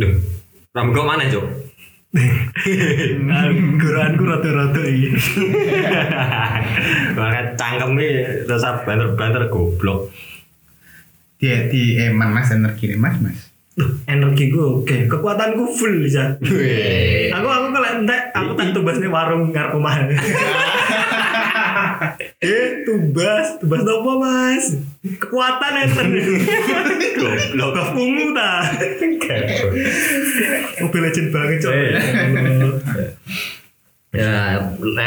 Duh, rambut kau mana, Cok? Guruanku rada-rada iki. Bahkan cangkemnya rasa banter-banter goblok. Di di eman eh, mas energi mas mas. Energiku oke, kekuatanku full bisa. Wih. Aku aku kalau entek aku tak tubas nih warung ngarep omah. eh, tubas, tubas apa Mas? Kekuatan enten. Goblok. Gak pungu ta. Mobile Legend banget, Cok. Eh. Ya,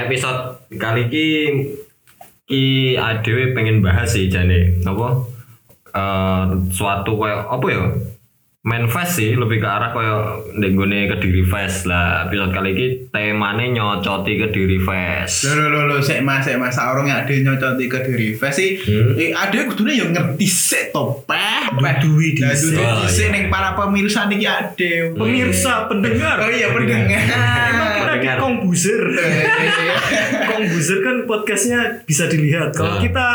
episode kali ini ki adewe pengen bahas sih jane apa Eh, suatu kayak apa ya main fest sih lebih ke arah kayak ndek nggone kediri fest lah episode kali ini temanya nyocoti kediri fest Lo lo lo lo sik mas sik mas orang yang ada nyocot ke diri sih. Hmm. Eh ada kudune yang ngerti sik to peh. peh. Duwi Lah dhisik. duwe Oh, dhisik iya. ning para pemirsa niki ade. Pemirsa pendengar. Oh iya pendengar. Emang kita di Pendengar. kombuser. Kombuser kan podcastnya bisa dilihat. Kalau Ah. kita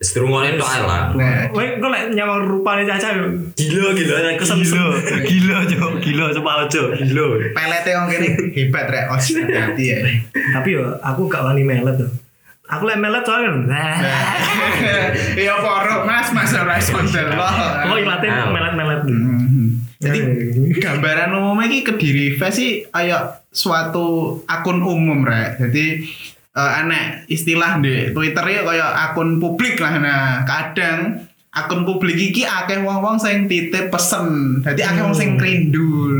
Sedurungonen tok ae lah Nah, Weh, kok lek nyawang rupanya caca yo. gila gila Kesem Gila, Cok. Gila, coba ojo. Gila. pelete wong kene hebat rek os hati ya. Tapi yo aku gak wani melet yo. Aku lek melet soalnya kan, nah, Ya apa ora mas mas ora iso ndelok. Oh, Ah. ilatnya melet-melet. Mhm. Jadi Jadi gambaran umumnya ki kediri fest sih kayak suatu akun umum rek jadi eh, aneh istilah di twitter ya kayak akun publik lah nah kadang akun publik iki akeh wong-wong sing titip pesen jadi akeh wong sing rindu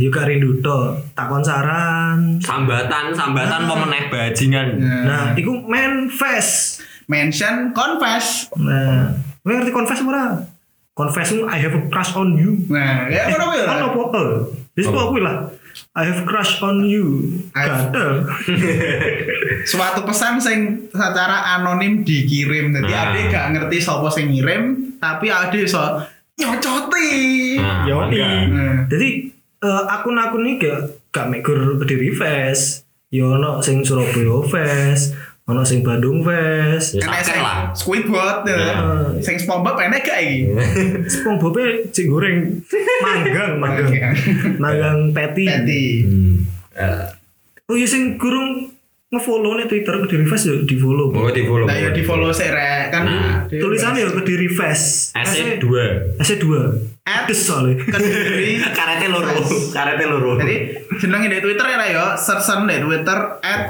Yuka Rindu to, takon saran. sambatan sambatan apa meneh bajingan Nah, nah iku men fest. mention confess Nah, kowe ngerti confess ora? Confess I have a crush on you. nah ya ngono kuwi Ono lah. apa? eh? Wis Apa? kok kuwi lah. I have crush on you. I've- Gatel. suatu pesan sing secara anonim dikirim jadi Nah. ade gak ngerti sapa sing ngirim tapi ade iso nyocoti Nah, Ya mangga. oni. Nah. Jadi eh, akun-akun ini gak gak megur Kediri Fest. Ya ono sing Surabaya Fest, ono sing Bandung Fest. Ya, Enak sakit sing lah Squidward ya. Nah. Sing SpongeBob enak gak iki? Hmm. SpongeBob cek goreng manggang manggang manggang patty. Jadi Hmm. Eh, Oh iya sing gurung ngefollow nih Twitter Kediri Fest ya di follow. mau iya, di follow nah ya di follow sih rek kan Nah. dia- Tulisannya ya Kediri Fest. SC 2 SC dua. Ades soalnya. Kediri. karete loro karete loro kan Jadi jenenge di Twitter ya Rek, ya sersen di Twitter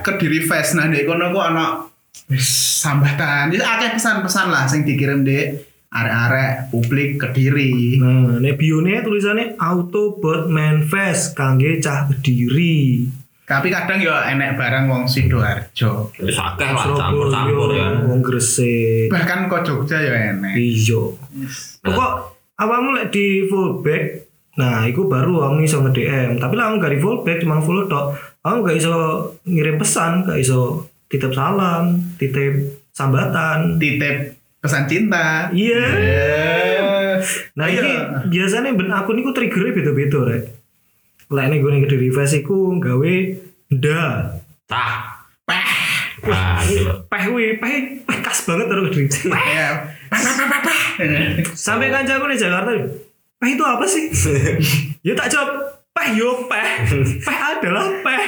@kedirifest. Nah di kono ku ana wis, sambatan. Jadi akeh pesan-pesan lah sing dikirim di arek-arek publik Kediri. Nah, nih bio nih tulisannya Autobot Man Fest kangge cah Kediri. Tapi kadang ya enek barang wong Sidoarjo. Wis akeh ya lah campur-campur ya. Surabaya, Wong Gresik. Bahkan kok Jogja ya enek. Iya. Pokok awakmu lek di fullback, nah iku baru awakmu iso nge-DM. Tapi lah awakmu gak di fullback cuma follow tok. Awakmu gak iso ngirim pesan, gak iso titip salam, titip sambatan. Titip pesan cinta. Iya. Eh, Nah iya. ini biasanya ben aku niku triggernya beda-beda rek. Lek nek gue gede reverse iku gawe nda. Tah. Peh. Nah, gitu. Peh we, peh, peh khas banget terus gede. Ya. Sampai kancaku di Jakarta, peh itu apa sih? ya tak jawab, peh yo peh, peh adalah peh.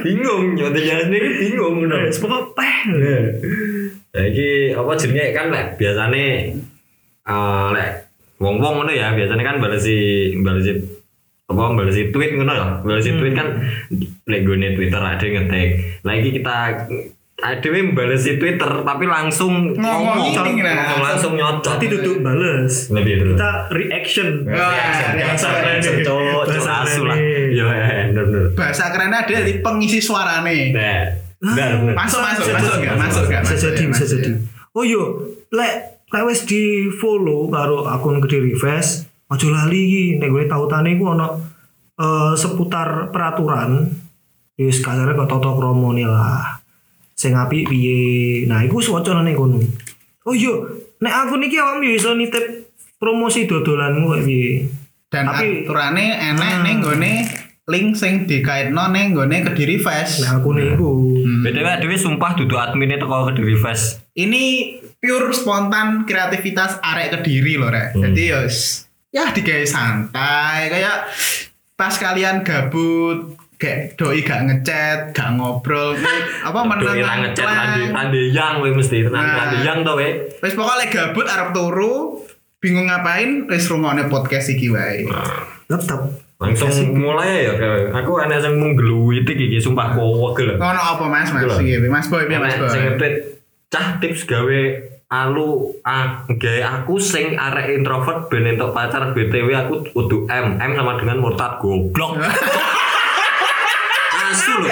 bingung nyote jane iki bingung ngono. Terus pokok peh. Nah, iki apa jenenge kan lek biasane eh lek wong-wong ngono ya biasanya kan balesi balesi apa balesi tweet ngono ya. Balesi tweet kan lek gone Twitter ada ngetik. Lah iki kita Adewe balesi Twitter tapi langsung Ngomong ini, nah. ngomong langsung nyocot. Berarti duduk bales. Lebih dulu. Kita reaction. Wah, Bahasa keren keren nih. cowok Bahasa cowok asu keren lah. nih. Yo bener bener. Bahasa kerennya ada di pengisi suarane. Nah, bener bener. Masuk masuk masuk Masuk, enggak masuk. masuk iya. enggak. Bisa jadi, bisa jadi. Oh yo, lek lek wis di follow karo akun Kediri Fest, aja lali iki nek gue tautane iku ono eh, seputar peraturan Ya wis kasare kok tata kramane lah. Sing apik piye. Nah, iku swacana ning kono. Oh yo, nek akun iki awakmu yo iso nitip promosi dodolanmu kok piye. Dan Tapi- aturane enek ning nggone link sing dikaitno ning nggone Kediri Fest. Nek akun iku. BTW Dewi sumpah duduk adminnya teko ke Dewi Fest. Hmm. Ini pure spontan kreativitas arek Kediri lho rek. Jadi ya ya digawe santai kayak pas kalian gabut kayak doi gak ngechat gak ngobrol apa menang Doi ra ngechat ngeklan. tadi tadi yang kowe mesti tenang Nah. tadi yang to we. wis pokoknya lek gabut arep turu bingung ngapain wis rungokne podcast iki wae tetap Langsung mulai ya kayak aku ana sing menggeluwiti iki sumpah kowe wegel. ngono apa mas mas Gila. Iya, mas boy Oh, iya, mas Ana Sing boy ngetweet cah tips gawe alu ah, gawe aku sing arek introvert ben entuk pacar BTW aku kudu M. M sama dengan murtad goblok. Asu lho.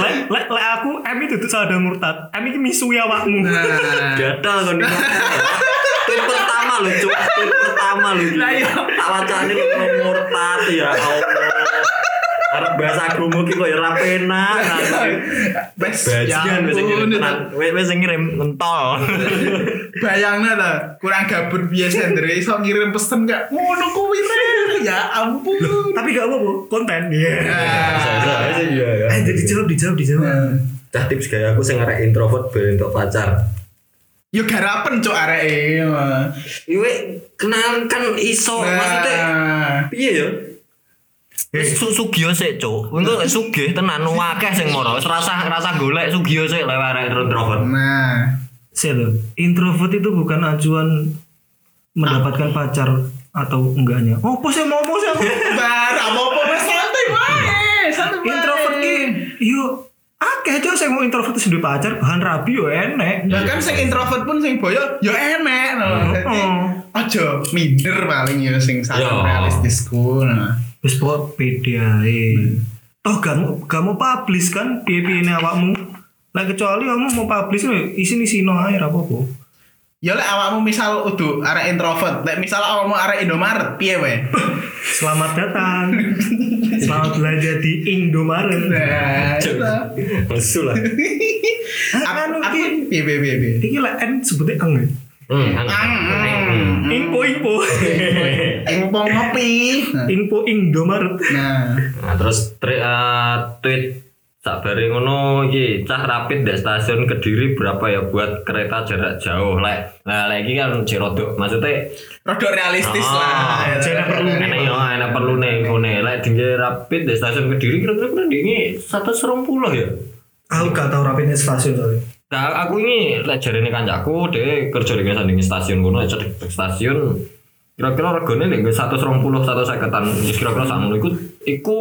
lek lek lek aku M itu tuh sadar murtad M ini ya, misui awakmu Nah. Gatal kon iki. Tweet pertama lho, cuk. Tweet pertama lho. Lah, iya. Tak wacane kok murtad ya Allah. Arep bahasa agama ki kok ya ora penak. Wes, Bajian wis ya ngirim ampun, tenan. Wis wis ngirim mentol. Bayangna ta, kurang gabut biasa Andre iso ngirim pesen gak ngono kuwi Re. Ya ampun. tapi gak apa-apa konten ya Bisa-bisa sih, iya, iya. eh jadi dijawab dijawab dijawab Cah tips gaya aku sing arek introvert ben entuk pacar. Yo garapan cok areke. Iwe kenalkan Oh, iso maksudnya Nah. piye ya? Wis Eh, su sugih sik, Cuk. Engko sugih tenan akeh sing moro. Serasa ngerasa golek sugih sik lewat arek introvert. Nah. Saya loh, introvert itu bukan acuan mendapatkan pacar atau enggaknya. Oh, pos mau pos mau. Bar apa-apa wes santai wae. Santai wae. introvert ki, yo, akeh aja saya mau introvert itu sendiri pacar, bahan rabi yo enek. Bahkan sing introvert pun sing boyo ya yo enek no. Dadi aja minder paling yo sing Yo. sangat realistis ku. Nah. Wis pokok pede ae. Toh kamu kamu publish kan piye-piye awakmu. Lah kecuali kamu mau publish lho, isin-isino ae ra apa-apa. Ya lek awakmu misal udu arek introvert, lek misal awakmu arek Indomaret, piye wae? Selamat datang. Selamat belanja di Indomaret. Nah, itu lah. Lesu lah. aku Anu aku ki, piye piye piye piye. iki lah N sebutnya eng. ya? Hmm, kan. Mm. Impo impo. Yang mau ngopi. Info Indomaret. Nah, Nah, terus tri, eh, tweet tak bari ngono iki cah rapid dari stasiun Kediri berapa ya buat kereta jarak jauh lek. Nah, lek iki kan jek rodok maksudnya rada realistis Ah, lah. Nah, jadi perlu enak ya enak perlu nih ngene. Lek di rapid dari stasiun Kediri kira-kira kurang ini 120 ya. Aku gak tau rapidnya stasiun soalnya. Nah, aku ini lek jarene kancaku dhewe kerja di sandingi stasiun kono lek cedek stasiun kira-kira regane lek nggo 120 150-an ya kira-kira sakmono iku iku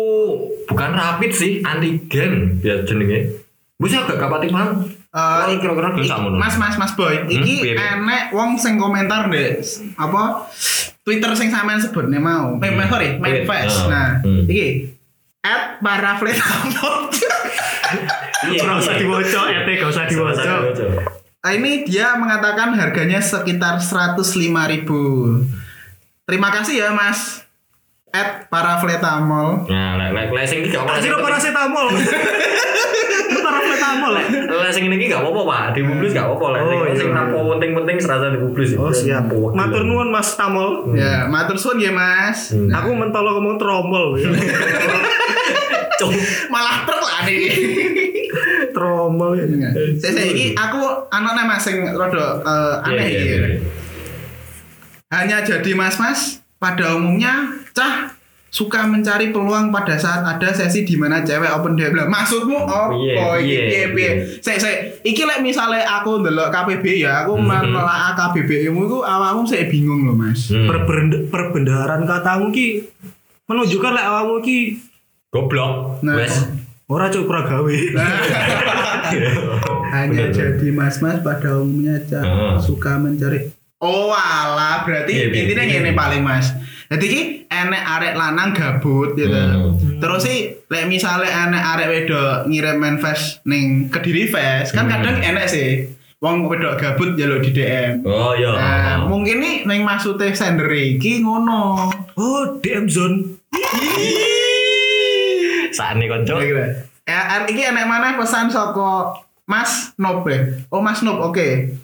bukan rapid sih antigen ya jenenge. Wis agak kapati paham. Eh, Uh, kira-kira regane Iki- sakmono. Mas mas mas boy, iki Hmm, piye, piye? enek wong sing komentar deh apa Twitter sing sampean sebutne mau. Eh, mas, sorry, manifest. Tweet, Nah, hmm. iki at para Iya, Gak usah iya. diwocok, ete gak usah diwocok. Sama-sama diwocok. Nah, ini dia mengatakan harganya sekitar 105.000. Terima kasih ya, Mas. At para fletamol. Nah, lek lek lek sing iki gak apa-apa. Anjir lo paracetamol. Lo paracetamol ya? Lah sing ini gak apa-apa, Pak. Dipublis gak apa-apa. Lah sing Oh, iya. Oh, sing apa penting-penting serasa dipublis. Matur nuwun Mas Tamol. Ya, matur suwun ya, Mas. Hmm. Aku mentolo ngomong tromol. ya. Malah truk lah nih. Tromol. ya. Iya. Saya saya ini aku anaknya Mas sing rada eh, aneh Iya, iki. iya, iya. Hanya jadi mas-mas pada umumnya cah suka mencari peluang pada saat ada sesi di mana cewek open DM. Lah, Maksudmu opo Piye, iki piye, piye piye? piye. Sik sik iki lek misale aku ndelok KBB ya, aku menelaah KBB mu iku awakmu sik bingung loh Mas. Hmm. Perbend- Perbendaharaan katamu ki menunjukkan lah awakmu ki Goblok. Nah. Wes. ora cuk ora gawe. Bener, Hanya jadi mas-mas pada umumnya cah Heeh. suka mencari. Oh alah berarti Iya, iya, intinya iya. gini paling mas. Jadi ki enek arek lanang gabut gitu. Hmm. Terus sih lek misalnya enek arek wedok ngirim manifest ning kediri fest kan Hmm. kadang enek sih. Wong wedok gabut jalur di DM. Oh iya. Nah, mungkin nih neng maksudnya sender iki ngono. Oh, DM zone. Saat nih konco. Ya, an- iki enek mana pesan soko Mas Nob ya? Oh Mas Nob, oke.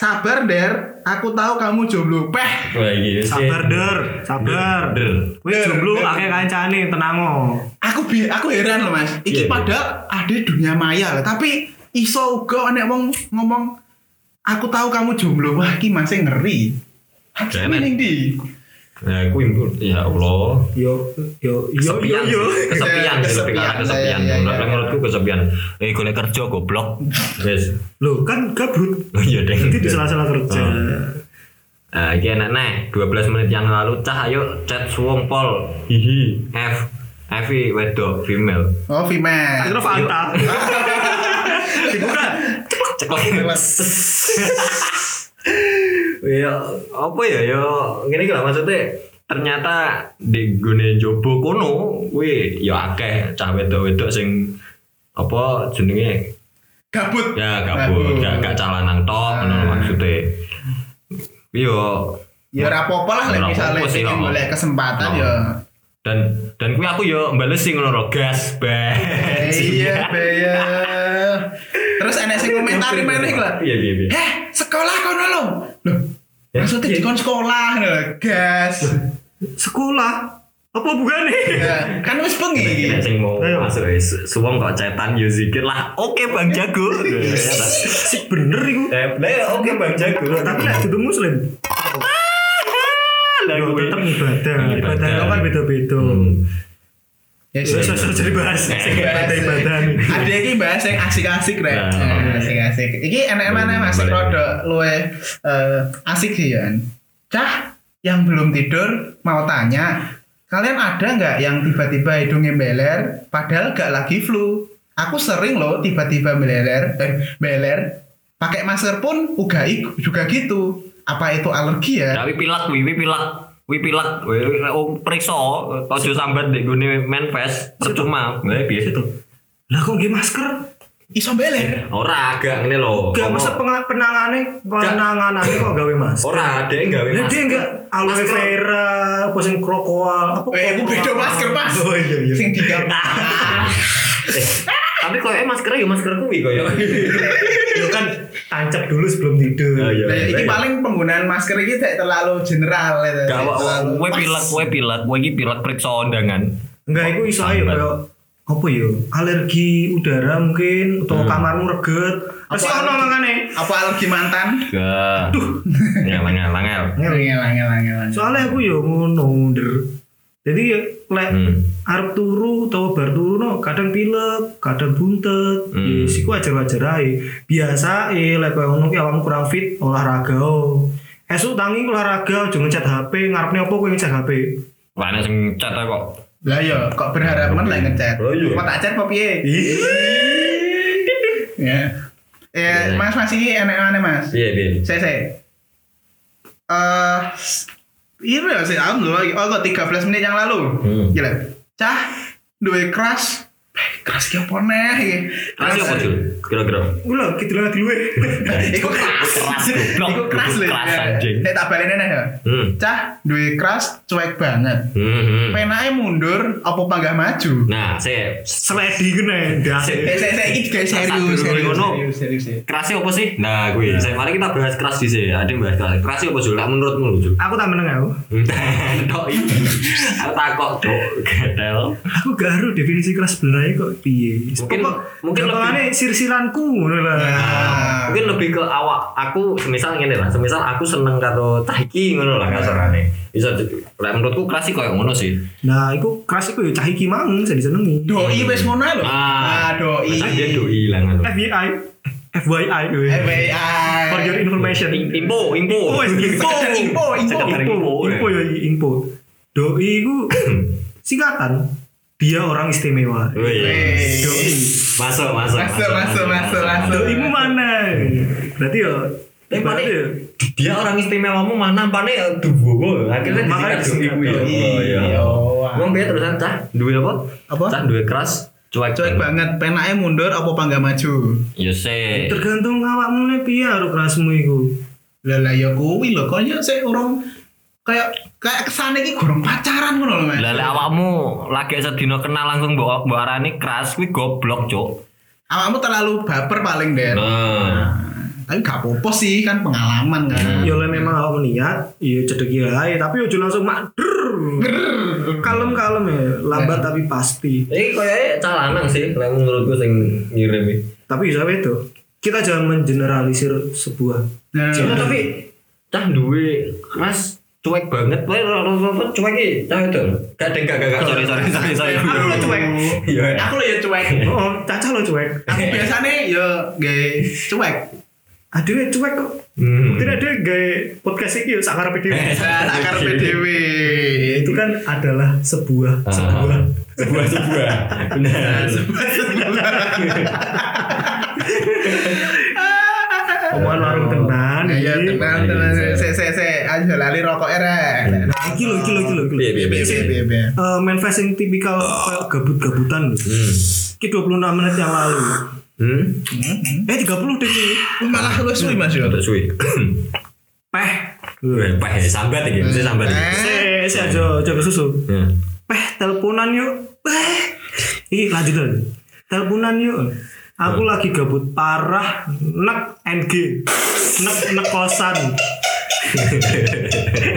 Sabar der, aku tahu kamu jomblo. Peh. Wah, iya, sih. Sabar der, sabar. Der. Wih jomblo akeh kancane tenango. Aku bi aku heran loh Mas. Iki Iya, iya. padahal ada dunia maya lah, tapi iso uga enek wong ngomong aku tahu kamu jomblo. Wah, iki Mas ngeri. Hati Jangan. ning ndi? Ya, aku impul. Ya Allah. Yo yo yo yo Kesepian, yo. sih. kesepian, Kesepian, sih lebih karena kesepian, kesepian. iya, iya, Menurut- iya. Menurutku kesepian. Eh, golek kerja goblok. Yes. Loh kan gabut. Oh iya deh. Nanti di sela-sela kerja. Hmm. Ah, iki enak nih. 12 menit yang lalu cah ayo chat suwung pol. Hihi. F. Evi wedok female. Oh, Tak Vime. kira Fanta. Bukan. Cek lagi. Ya, apa ya ya ngene iki lah maksudnya ternyata di gone jobo kono kuwi ya akeh cah wedok-wedok sing apa jenenge Gabut. ya gabut gak gak cah lanang Ah. tok ngono lho maksudnya Iya, yo Ya ora apa-apa lah Ora lek misale apa-apa sih, ya. pengen ora. golek kesempatan Ora. ya. dan dan kuwi aku yo mbales sing ngono lho gas Eh, bes Iya, be, ya. Terus enek sing komentari meneh lah. iya iya iya Heh, sekolah kono lho. Loh, maksudnya dikon sekolah ngono lho, gas. Sekolah. Apa bukan nih? Ya, kan wis bengi. Nek sing mau Ayo. masuk eh, su- suwong kok cetan yo zikir lah oke bang jago Ya, ya, tak. Si bener iku. eh ya, le, oke bang jago Tapi nek duduk gitu. muslim. lah Yo kuwi. tetep ibadah. Ibadah. Ibadah itu kan beda-beda. Hmm. Ya, Yo sih. iso jadi bahas sing ibadah ibadah nih. Ada iki bahas yang asik-asik rek. Nah. Nah, Asik-asik. Iki enak mana masih Boleh. rodok luwe eh, asik sih ya. Cah yang belum tidur mau tanya, kalian ada nggak yang tiba-tiba hidungnya beler padahal gak lagi flu? Aku sering loh tiba-tiba beler, eh, beler. Pakai masker pun uga ik- juga gitu. Apa itu alergi ya? Tapi pilak kuwi, kuwi pilak. Kuwi pilak. Kuwi- Oh, periksa aja sambat ndek gone Menfest percuma. Lah biasa tuh. Lah kok nggih masker? Iso beler. Ora agak ngene lho. Gak Apa- masa penga- penangane penanganane kok gawe masker. Ora ada yang gawe Lah masker. dia enggak aloe Masker. vera, apa sing krokoal, apa Eh, aku beda masker, Mas. Iya. Oh iya iya. Sing digampang. Eh, Tapi kok eh maskernya ya masker kuwi koyo. Iya, Yo kan tancap dulu sebelum tidur. Oh, iya. Nah, ini Iya. paling penggunaan masker ini tidak terlalu general ya. Gak apa Terlalu kowe pas. pilak, kowe pilak, kowe iki pilak periksa undangan. Enggak, itu iso ayo Sambat. kayak apa ya? Alergi udara mungkin atau Hmm. kamarmu reget. Pasti Apa ono alergi? mangane. Apa alergi mantan? Gak. Duh. Ya mangel, mangel. Ngel ngel ngel Soalnya aku yo ngono der. Jadi ya lek Hmm. arep turu atau bar turu no, kadang pilek, kadang buntet. Hmm. Ya sik wajar-wajar ae. Biasa e lek koyo ngono ki awakmu kurang fit olahraga. o. Esuk tangi olahraga, aja ngecat HP, ngarepne apa kowe ngecat HP. Wah, ini sing cat ae kok. Lah ya, kok berharap men lek ngechat. Oh, iya. Kok tak chat apa piye? Ya. Iya. Ya, Mas Mas ini enak-enak Mas. Piye, piye? Saya saya. Eh, iya ya, saya aku dulu lagi. Oh, kok 13 menit yang lalu. Hmm. Gila. Cah, duwe crush. Eh, Crush ki apa neh iki? Kasih apa, Jul? Kira-kira. Gula, kita eh. lagi dulu. Iku keras. Keras, goblok. Iku keras lho. ya. Keras, anjing. Nek tak balene neh ya. Hmm. Cah, duwe crush cuek banget. Hmm, hmm. Penake mundur apa panggah maju? Nah, saya Seledi kene, dah. Eh, saya saya ini guys Tak serius, dulu serius, ngono. serius, serius, serius. kerasnya apa sih? Nah, gue. Saya mari kita bahas keras di sini. Ada yang bahas keras. Kerasnya apa Jul? Lah, menurutmu lu Jul? Aku tak meneng aku. Tok itu. Aku takok dok gedel. aku gak haru definisi keras sebenarnya kok piye Mungkin- Pokok- mungkin lebih- gampangannya sir-siranku ngono lah Ah. Mungkin lebih ke awak aku semisal ngene lah, semisal aku seneng karo cah iki ngono lah kasarane. Bisa di- lah menurutku keras sih koyo ngono sih. nah iku keras iku ya cah iki mang bisa disenengi Doi wes ngono lho. Ah, doi. Masa dia doi lah ngono. FBI FYI we. FBI. for your information Im- Impo, impo. Oh, wes, impo. Sekedar info, info. Sekedar info info ya info doi iku singkatan dia orang istimewa Wih. doi Masuk, masuk. Iya. Masuk, masuk, masuk, masuk. doi mu mana berarti ya Eh, Pak, berarti ya dia orang istimewamu mana pane duwo akhirnya Makanya disingkat dong ibu disingkat ya dong. Oh, iya Iya. wong piye terusan cah duwe apa Apa? cah duwe keras cuek Cuek banget, penake mundur apa panggah maju? ya se tergantung awakmu ne piye karo kerasmu iku Lah lah ya kuwi lho, kok ya saya urung kayak kayak kesane iki gorong pacaran ngono lho, Mas. lele awakmu lagi sedino kenal langsung mbok mbok arani keras kuwi goblok cuk Awakmu terlalu baper paling, Den. nah Tapi gak apa-apa sih, kan pengalaman kan. Ya oleh memang aku niat, ya cedeki ae, tapi ojo langsung mader. Kalem-kalem ya, lambat tapi pasti. ini kayaknya Eh, e cah lanang sih lek menurutku sing ngirim e. iki. Tapi bisa itu. Kita jangan mengeneralisir sebuah. Nah, Cuma tapi cah duwe keras cuek banget wae ora ora- ora- ora- cuek iki cah itu gak deng gak gak gak, sorry sorry sorry sorry Aku lo cuek. iya ya. Aku lo ya cuek. oh caca lo cuek Aku biasanya ya gay cuek. aduh cuek kok Hmm. tidak ada gaya podcast ini sakar video Eh. Nah, akar PDW. itu kan adalah sebuah Ah. sebuah sebuah sebuah benar omongan warung Oh. tenan Eh, Iya iki. tenang tenang. Se se se aja lali rokoknya rek. nah iki lho iki lho iki lho iki lho. Iya, iya, iya, iya. Iya, iya. Eh, manifest yang tipikal kayak gabut-gabutan lho. Hmm. Ki 26 menit yang lalu. hmm Eh 30 deh Ki. Malah lu suwi mas yo. terus suwi Peh. Weh, peh sambat iki mesti sambat iki. Eh, saya aja jaga susu. Ya. Peh, Eh, teleponan yuk. Peh. Ih, lanjut dulu. Teleponan yuk. Aku lagi gabut parah nek NG. Nek nek kosan.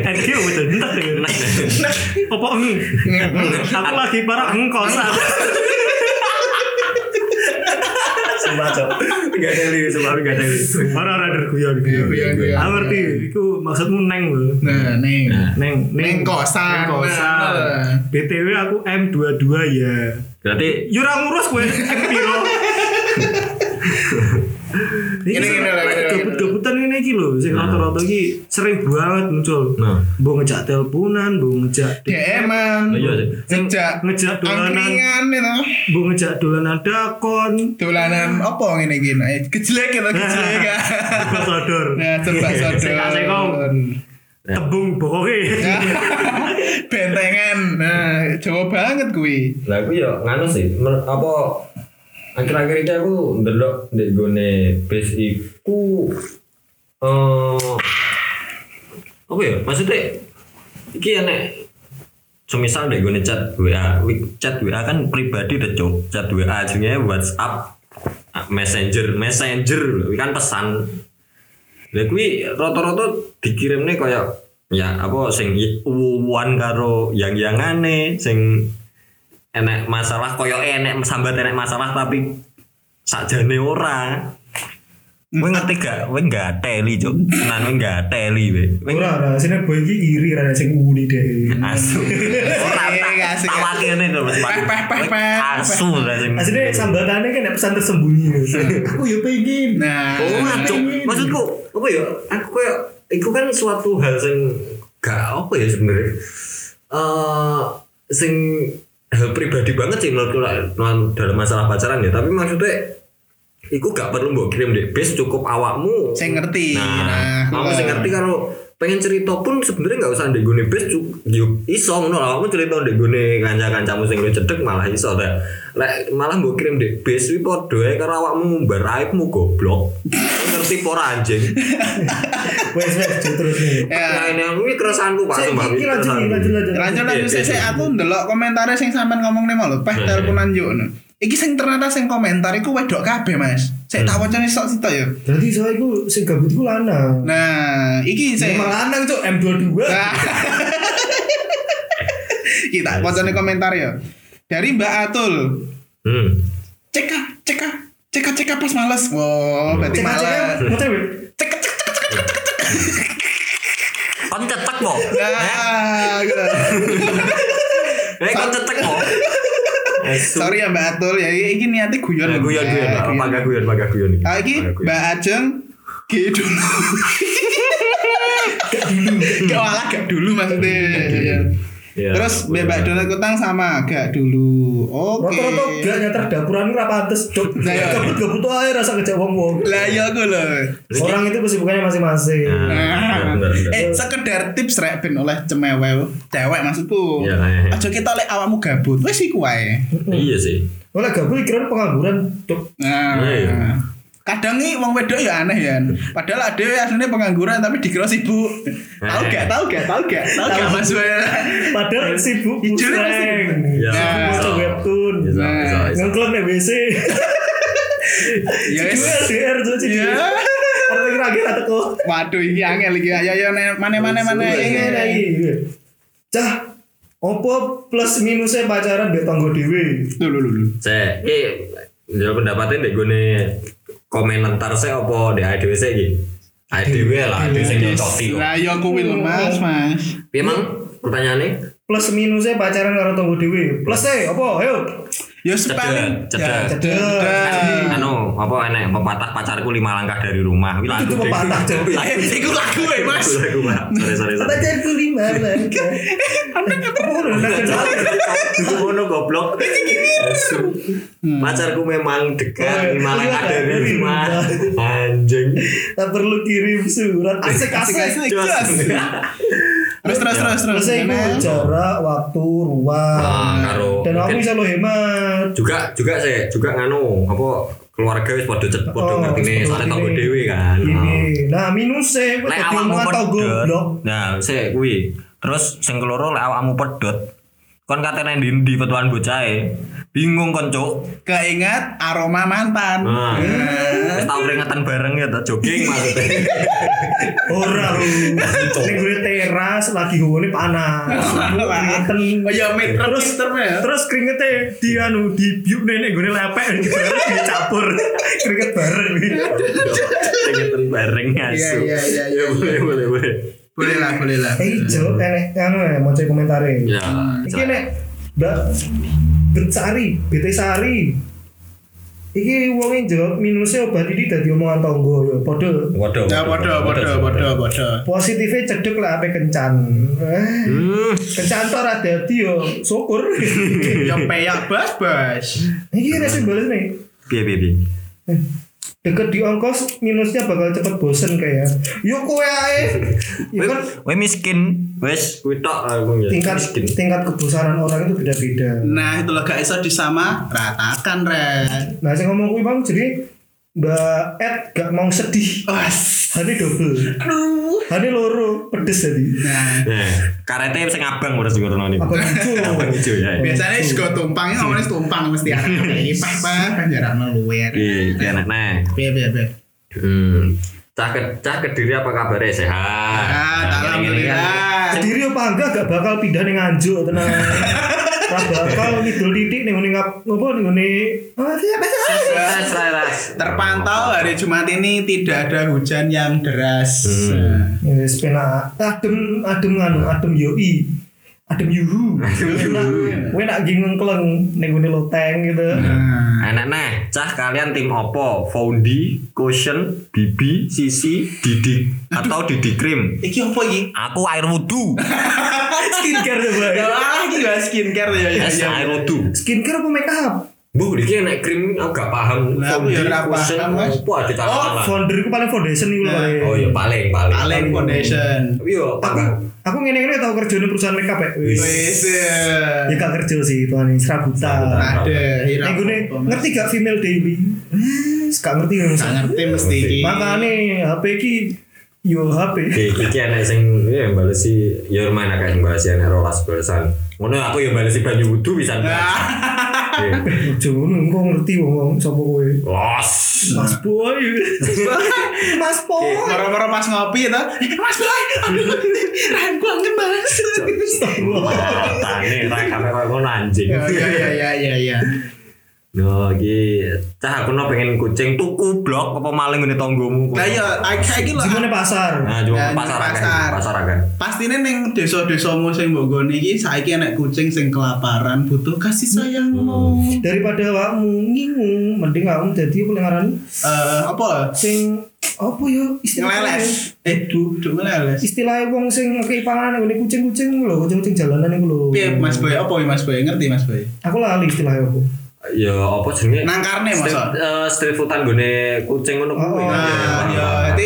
NG udah entek ya. Apa eng? Aku lagi parah eng kosan. Sumpah, Cok. Enggak ada li, sebab enggak ada li. Ora ora der guyon. Iya, iya, iya. Aku ngerti, iku maksudmu neng lho. Nah, neng. Neng Neng kosan. Neng kosan. Nah. BTW aku M22 ya. Berarti Yura ngurus gue M piro. Ini, ini, ini, ini, ini. Gabut-gabutan ini iki lho, sing rata-rata iki sering banget muncul. nah, Mbok ngejak teleponan, mbok ngejak DM-an. iya sih. Ngejak ngejak dolanan, angkringan itu. mbok ngejak dolanan dakon. Dolanan apa ngene iki? Nah, Kejelek ya, kejelek. ya. Sodor. Nah, coba sodor. Seka sekong. Tebung bokoke. Nah, Bentengan. Nah, Jawa banget kuwi. Lah aku ya nganu sih, mer- apa akhir-akhir ini aku ndelok ndek gone base iku eh apa ya? Maksudnya iki enek semisal ndek gone chat WA, Wi- chat WA kan pribadi udah cok. Chat WA jenenge WhatsApp ah, Messenger, Messenger lho, kan pesan. Lah kuwi rata-rata dikirimne kaya ya apa sing uwuan karo yang-yangane sing enek masalah koyo enek sambat enek masalah tapi sakjane ora Kowe ngerti gak? Kowe gak teli, Cuk. Tenan kowe gak teli we. Kowe Ora ora, sine boy iki iri rada sing uni deh. asu. Ora Iya, iya, tak asik, awake ngene lho Mas. Peh, peh, peh, peh. Asu lah sing. Aslinya sambatannya kan ada pesan tersembunyi. Aku ya pengen. Nah, Ora, Cuk. Oh, Maksudku apa ya? Aku koyo iku kan suatu hal sing gak apa ya sebenarnya. Eh sing hal pribadi banget sih menurutku lah non- dalam masalah pacaran ya, tapi maksudnya Iku gak perlu mbok kirim deh, bis cukup awakmu. saya ngerti. Nah, kamu sing ngerti kalau pengen cerita pun sebenarnya nggak usah ndek gone bes yuk iso ngono lah kamu cerita ndek gone kanca-kancamu sing lu cedek malah iso ta. Lek malah mbok kirim ndek bes kuwi padha ae karo awakmu ngumbar aibmu goblok. Ngerti po ora anjing. Wes wes jauh terus nih. Ya ini aku iki keresahanku Pak sumpah. Iki lanjut nih, lanjut lanjut. Lanjut lanjut Iya, iya, saya iya. aku ndelok komentare sing sampean ngomong nih malu. Peh Iya, iya. teleponan yuk. no. Iki sing ternyata sing komentar iku wedok kabeh, Mas. Saya Hmm. tak wacane sok sitok ya. Berarti soalnya gue sing gabut gue lanang. Nah, iki saya Emang lanang cok M22. Nah, Kita wacane komentar ya. Dari Mbak Atul. Hmm. Ceka, ceka, ceka, ceka pas males. Wow, berarti Cek aja males. mau cewek. Ceka, ceka, ceka, ceka. Kon cetek kok. Nah, gitu. Eh kon cetek kok. Eh, Sorry ya Mbak Atul, ya iki niatnya guyon. Guyon guyon, Ya, guyon. pakai guyon, pakai guyon. iki. Ah, iki Pakai guyon. Mbak Ajeng Ki dulu. Gak dulu. Gak malah gak dulu maksudnya. Iya. Iya. Terus Mbak Donat Kutang sama gak dulu. Oke. Roto-roto gak nyatar dapuran gue pantes cok. Nah, iya. Gabut gabut tuh air rasa ngejak wong wong. Lah ya aku lho. Orang itu kesibukannya masing-masing. Nah, bener, bener. Eh sekedar tips rek ben oleh cemewe cewek maksudku. Iya, iya, iya. Aja kita oleh awakmu gabut. Wis iku wae. Iya sih. Oleh gabut kira pengangguran cok. Iya. Nah. Kadang nih wong wedok ya aneh ya. Padahal ada aslinya pengangguran tapi dikira sibuk. Tahu gak? Tahu gak? Tahu gak? Tahu gak Mas Wel? Padahal sibuk Ijonya masih- pusing. Iya. Sibuk Nah. maca webtoon. Bisa, bisa, bisa. Ngengklon nih WC. Iya, Ya wis. Gue LDR tuh sih. Ya. Artinya kira-kira teko. Waduh, iki angel iki. ya. Ayo ayo ne- mana mana mana. iya. Pengen lagi. Iya, Cah, opo plus minusnya pacaran di tanggo dewe. Lu lu lu, lu. Saya, eh, jawab pendapatnya deh gue nih komentar saya apa di ADWC gitu. Ae dhewe lah, dhewe sing nyocoti kok. Lah ya kuwi lho Mas, Mas. Piye mang pertanyaane? plus minusnya pacaran karo tonggo dewi plus eh apa ayo Ya Cedek, sepaling cedek. cedek. Anu, apa enek pepatah pacarku lima langkah dari rumah. Wih lagu Itu deh. pepatah, Cok. Lagu, Iku lagu ya, Mas. Lagu, Pak. Sorry, sorry, sorry. pacarku lima Kan, langkah Anu, apa udah nasional Itu ngono goblok. Asu. Hmm. Pacarku memang dekat lima langkah dari rumah. Anjing. tak perlu kirim surat asik asik, Asik-asik. Jos. Terus terus terus Ya. Nah, terus. plus itu jarak waktu ruang Ah, karo. dan aku mungkin bisa lo hemat juga juga saya juga nganu apa keluarga wis padha cet padha Oh, ngerti nih wis padha soalnya tanggo ngertine. dhewe kan. Oh. ini nah minusnya aku Lek jadi awakmu rumah tau pedot. goblok Nah, sik kuwi. Terus sing keloro lek awakmu pedot. Kon katene ndi-ndi petuan bocahe. e, Bingung kon, Cuk. Keingat aroma mantan. Nah. Wis Hmm. tau keringetan bareng ya ta jogging maksudnya. Ora lu. Ning gue teras lagi ngene panas. Lu Keringetan. Ya meter terus terus. Terus keringetnya di anu di biuk nenek gue lepek di bareng dicampur. Keringet bareng. Iya. Keringetan bareng asu. Iya, iya, iya, Ya boleh boleh boleh. Boleh lah, boleh lah. Eh ijo eleh anu ya mau cek komentare. Ya. Iki nek Mbak Bersari, BT Sari. Iki wonge jawab minusnya obat ini dadi omongan tangga ya padha. Waduh. Ya podo podo podo podo. Positifnya cedek lah ape kencan. Eh, Hmm. kencan tok ora dadi yo syukur. Ya peyak bas bas. Iki nek sing bales nih. Piye piye piye. Eh, Deket di ongkos minusnya bakal cepet bosen kayak. Yuk kowe ae. Iya Ya kan Wes miskin, wes kuwi tok aku ya. tingkat miskin. tingkat kebosanan orang itu beda-beda. Nah, itu gak iso disama ratakan, Ren. Nah, saya ngomong kuwi Bang, jadi Mbak Ed gak mau sedih. Wes. Hani double. Aduh. Hani loro pedes tadi. Nah, Nah, karete sing abang ora sing ngono niku. Apa lucu? Apa hijau ya. biasanya juga tumpang, ini ngomongnya tumpang mesti anak Pak, pak, kan jarang meluwer. Iki enak nah. Biar, biar, biar. Hmm. Cah ke, cah kediri apa kabarnya sehat? Ah, Nah, ngene-ngene kan. alhamdulillah. Kediri apa enggak gak bakal pindah ning Anjuk tenang. Ora bakal ngidul titik ning ngene ngap- apa ning ngene. Ah, siapa sih? Sukses, Ras. Oh, Terpantau hari Jumat ini tidak ada hujan yang deras. Hmm. Ya, wis penak adem adem anu adem yoi. Adem yuhu. Kowe nak nggih ngengkleng ning ngene loteng gitu. Nah. Enak nah, cah kalian tim opo? Foundi, Cushion, Bibi, Sisi, Didik atau Didi Krim? Iki apa iki? Aku air wudu. Skincare tuh, Bang. Ya lah iki ya skincare ya ya. Es ya. air wudu. Skincare apa make up? Bu, iki enak krim aku gak paham. Lah, aku ya ora Cushion, paham, Mas. Opo ada Oh, tanaman? Founder ku paling foundation iku lho. Nah, Bang. Oh iya paling paling. Paling foundation. Iya, aku tambah. aku ngene-ngene tau kerja di perusahaan make up ya. Wis. Wes. Ya gak kerja sih tuan ini serabutan. Ada hilang. Ning gue apa, Mas? ngerti gak female daily? Eh, gak ngerti yang Nggak ngerti mesti iki. Makane HP ki yo HP. Oke, iki enak sing ya balesi ya lumayan akeh sing balesi enak rolas balasan. Ngono aku ya balesi banyu wudu bisa. Oke. Ojo ngono engko ngerti wong sapa kowe. Los. Mas Boy. Mas Boy. Moro-moro pas ngopi itu, Mas Boy, aduh, Ren gua angin banget. Astagfirullah. Tane ra kamera ngono anjing. Ya ya ya ya ya. Yo iki cah aku no pengen kucing tuku blok apa maling ngene tanggomu. Lah ya, kayak iki lho. Gimana pasar? Nah, cuma ke Nah, pasar akeh, pasar. pasar akeh. Pastine ning desa-desa sing mbok nggon iki saiki enek kucing sing kelaparan butuh kasih sayangmu. Daripada awakmu ngingu, mending awakmu dadi apa yang ngarani Eh apa? sing apa yo istilahnya? Ngeleles. Eh, du, du ngeleles. istilahnya wong sing ngekei panganan ngene kucing-kucing lho, kucing-kucing jalanan iku lho. Piye Iya, Mas Boy? Apa iki, Mas Boy? Ngerti Mas Boy? Aku lali istilahnya aku. Ya apa jenenge? Nangkarne masa. Street, eh, street foodan gone kucing ngono kuwi. Oh, Nah, ya jadi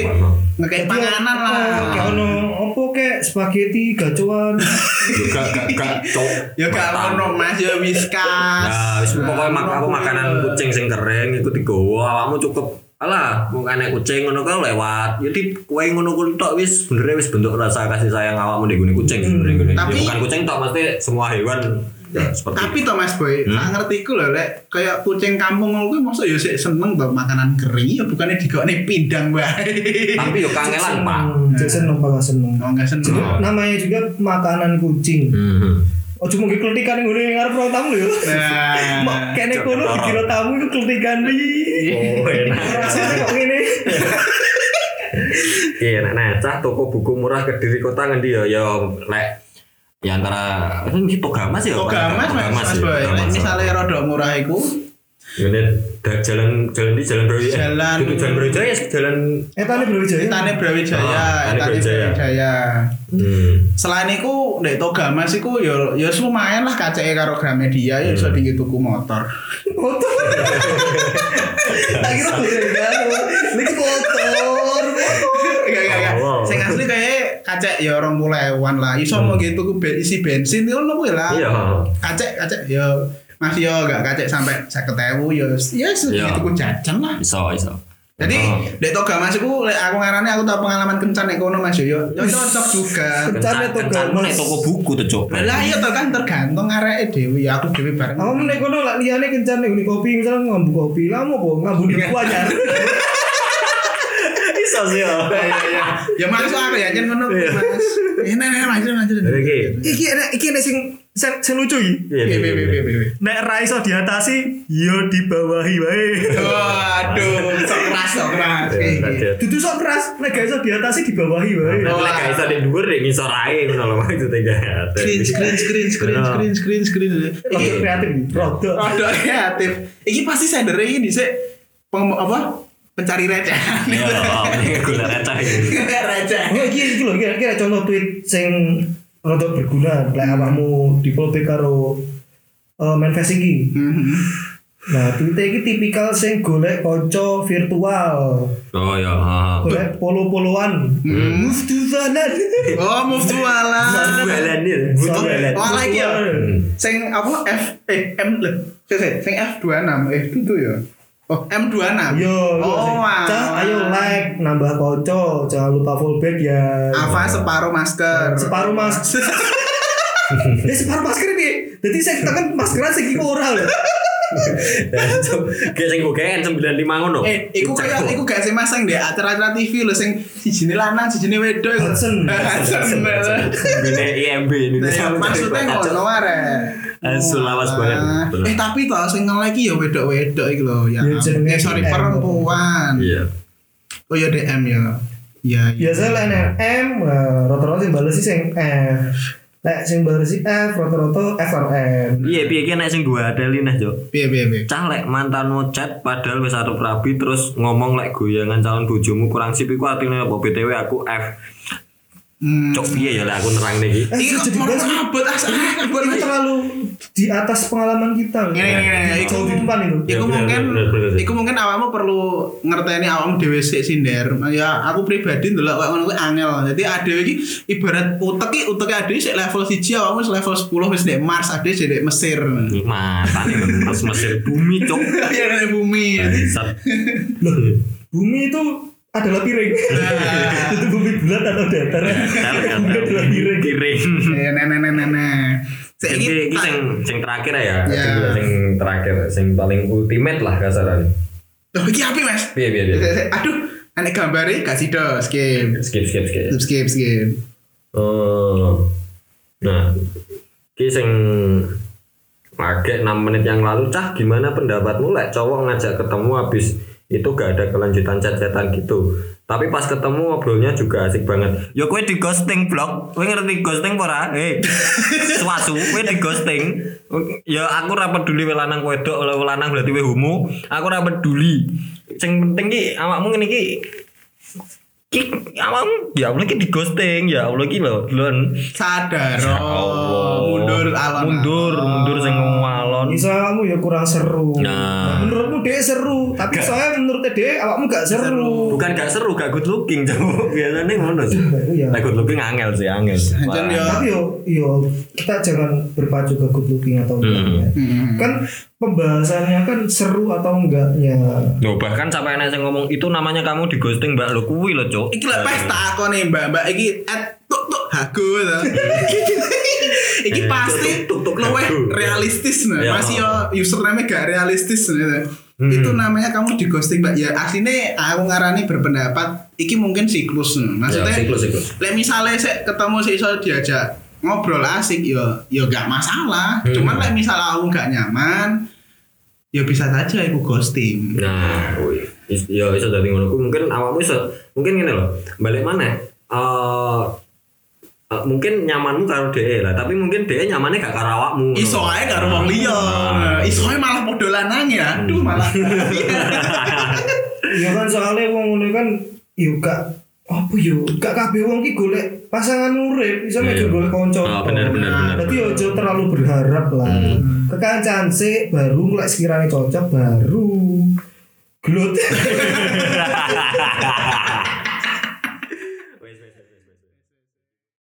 ngekei panganan lah. Kayak ono opo kek spaghetti gacuan. juga gak gak cok. Ya gak Matang. ono Mas ya whiskas. Nah, wis pokoknya mak aku makanan kucing sing kering iku digowo awakmu cukup alah mung ana kucing ngono kan lewat jadi kue ngono kuwi tok wis bener wis bentuk rasa kasih sayang awakmu ning gone kucing sebenarnya gone. Ya, Hmm, Tapi- bukan kucing tok mesti semua hewan ya seperti Tapi to Mas Boy, Hmm? tak ngerti ku lho lek kayak kucing kampung ngono kuwi mosok ya sik seneng to makanan kering ya bukannya digone pindang wae. tapi yo kangelan Pak. Hmm, Cek seneng bakal seneng. Oh enggak seneng. Nah. Namanya juga makanan kucing. Hmm. Ojo mung keletikan ning ngene ngarep ruang tamu lho. Mak Nah. kene kono dikira tamu iku keletikan iki. Oh, enak. Rasane kok ngene. Iya, nah, nah, cah toko buku murah Kediri Kota ngendi ya? Ya lek ya antara itu ini Togamas ya. Togamas mas mas boy. Lek Misalnya rodok murah iku Ini da- jalan jalan di jalan Brawijaya. Eh, Jalan- duduk jalan Brawijaya ya jalan Eh tadi Brawijaya. Tane Ah, Brawijaya, Tane Tane Brawijaya. Brawijaya. hmm. Selain iku ndek Togamas iku ya ya lumayan lah kaceke karo Gramedia ya iso dinggo tuku motor. Motor. Tak kira Brawijaya. Ini motor. Enggak enggak enggak. Allah. Sing asli kayak kacek ya 20-an lah. Iso mau gitu ku ben- isi bensin ya ngono kuwi lah. Hmm. Iya. Kacek kacek ya masih ya enggak kacek sampai 50.000 ya ya Iya. segitu ku jajan lah. Bisa, bisa. Jadi Oh. dek toga mas aku lek aku ngarane aku tau pengalaman kencan ekono mas yo yo yo cocok juga. Kencan, Kencan kencan Togamas. nek toko buku tuh Cok. Lah iya to kan tergantung areke dhewe ya aku dhewe bareng. Aku menek kono lah liyane kencan nih kopi misalnya ngambu kopi lah mau kok ngambu di gua anyar. Bisa sih. ya. Ya ya ya. Ya maksud aku ya jan ngono Iya. mas. Ini nih lanjut lanjut. Jadi iki. Iki enak iki enak sing sing sing lucu iki. iya, Iya, iya, iya, iya, iya. iya, iya, iya. Nek ra iso diatasi, yo dibawahi wae. Waduh, sok keras sok keras. Iya, Kayak gitu. iya. Dudu sok keras, nek gak iso diatasi dibawahi wae. Tapi lek gak iso di dhuwur ya ngisor ae ngono lho maksudnya gak ada. Screen screen screen screen Iya. screen screen screen. Iya. Rodo kreatif iki, rodo. Aduh kreatif. Iki pasti sendere ini dhisik peng apa? Pencari recehan. Iya, ini gula kaca ini. Recehan. Enggak iki iki lho, iki iki nek contoh tweet sing rodo berguna lek awakmu di karo eh, main facing iki. Mhm. Nah, tweet iki tipikal sing golek kanca virtual, Oh ya, ha. golek polo-poloan. Hmm. Move to Zanan. Oh, move to Alan. Balanir, ya. butuh Hmm. balan. Oh, lagi ya. Sing apa F eh M lho. Sik, sik. Sing F26 eh itu ya. Oh, M26. Yo, yo, oh, wah. Cah, iya, ayo like, nambah konco, jangan lupa full back ya. Ava separuh masker. Separuh mas, ya separuh masker nih. Jadi saya kita kan maskeran segi ora lho. Kayak sing gogean 95 ngono. eh, iku kayak Cekok. iku gak sih masang deh acara-acara TV lho sing sijine lanang, sijine wedok. iku. Hudson. Hudson. Gede IMB ini. Nah, Maksudnya ngono are. Asu lawas banget. Ah, Eh tapi toh sing ngelek iki ya wedok-wedok iki lho ya. Ya, ampun. jenenge Eh sorry DM. perempuan. Iya. Oh ya DM ya. Iya. iya. Biasanya lah nih M, nah, rata-rata sing bales sih sing F. Lek sing bales sih F, rata-rata F or M. Iya, piye ki nek sing gua adelin aja. Piye piye piye. Cah lek mantanmu chat padahal wis arep rabi terus ngomong lek goyangan calon bojomu kurang sip iku atine apa BTW aku F. Hmm. Cok piye ya lek aku nerang iki. Eh, Iki jadi mau iya, bahas- abot ah abot. Itu terlalu di atas pengalaman kita. Ngene ngene ngene. Iku Jauh di depan itu. Ya, Iku bener, mungkin, bener, bener, bener. iku mungkin awakmu perlu ngerteni awakmu dhewe sik sinder. Ya aku pribadi ndelok kok ngono kuwi angel. Jadi ade iki ibarat utek iki uteke ade sik level 1 awakmu sik level 10 wis ndek Mars, ade sik ndek Mesir. Mantan terus mesir bumi cok. Ya ndek bumi. Iya, Jadi, Bangsat. Bumi itu adalah piring. itu bumi bulat atau datar. Datar, Bumi adalah piring. Kiring. Ya nenek-nenek. Sik Iki iki iki sing sing terakhir ya. Iya. Iki Sing terakhir, sing paling ultimate lah kasaran. Loh, Oh, iki api, Mas. Piye piye piye. Sik, sik. Aduh, anek gambare gak sido skip. Skip skip skip. Skip skip skip. Oh. Nah, ki sing agak 6 menit yang lalu cah gimana pendapatmu lek cowok ngajak ketemu habis itu gak ada kelanjutan chat-chatan gitu tapi pas ketemu ngobrolnya juga asik banget yo kue di ghosting blog kue ngerti ghosting pora eh suasu kue di ghosting ya aku ra peduli we lanang wedok oleh lanang berarti we homo aku ra peduli sing penting ki awakmu ngene ki Ki, awam, ya Allah ki di ghosting, ya Allah ki lho, lon. sadar Ya Allah. oh, mundur alon mundur, mundur sing ngalon. Misalnya kamu ya kurang seru. Nah. Menurutmu dia seru, tapi saya menurut dia awakmu gak seru. Bukan gak seru, gak good looking, jauh biasanya ngono sih. Iya. Nah, good looking angel sih, angel. Wah. Hancur ya. Tapi yo yo kita jangan berpacu ke good looking atau enggaknya. Hmm. Kan pembahasannya kan seru atau enggaknya. iya. Loh, bahkan sampai enak sing ngomong itu namanya kamu di ghosting Mbak lo kuwi lho, Cuk. Iki lek iya, pesta aku nih mbak mbak iki at tuk tuk hago ta. Iki pasti Eh, Tuk, tuk, tuk, luweh hago. realistis nah. Ya. Masih yo username gak realistis nah. Itu Hmm. namanya kamu di ghosting mbak ya aslinya aku ngarani berpendapat iki mungkin siklus Ya, nah. Maksudnya siklus siklus. Lek misalnya saya ketemu sih iso diajak ngobrol asik yo yo gak masalah. Hmm. Cuman lek misalnya aku gak nyaman, ya bisa saja aku ghosting. Nah, kuwi. Is- ya iso dadi ngono Ku mungkin awakmu iso mungkin ngene loh balik mana Eh, eh, mungkin nyamanmu karo DE lah tapi mungkin DE nyamannya gak karo awakmu iso ae karo wong liya Ah. iso ae malah podo lanang ya aduh malah ya kan soalnya wong ngono kan yo gak apa yo gak kabeh wong ki golek pasangan urip iso mek Iya. golek Ah, kanca. bener bener bener Hmm. Dadi ojo terlalu berharap lah. Kekancan sik baru lek sekiranya cocok baru glut.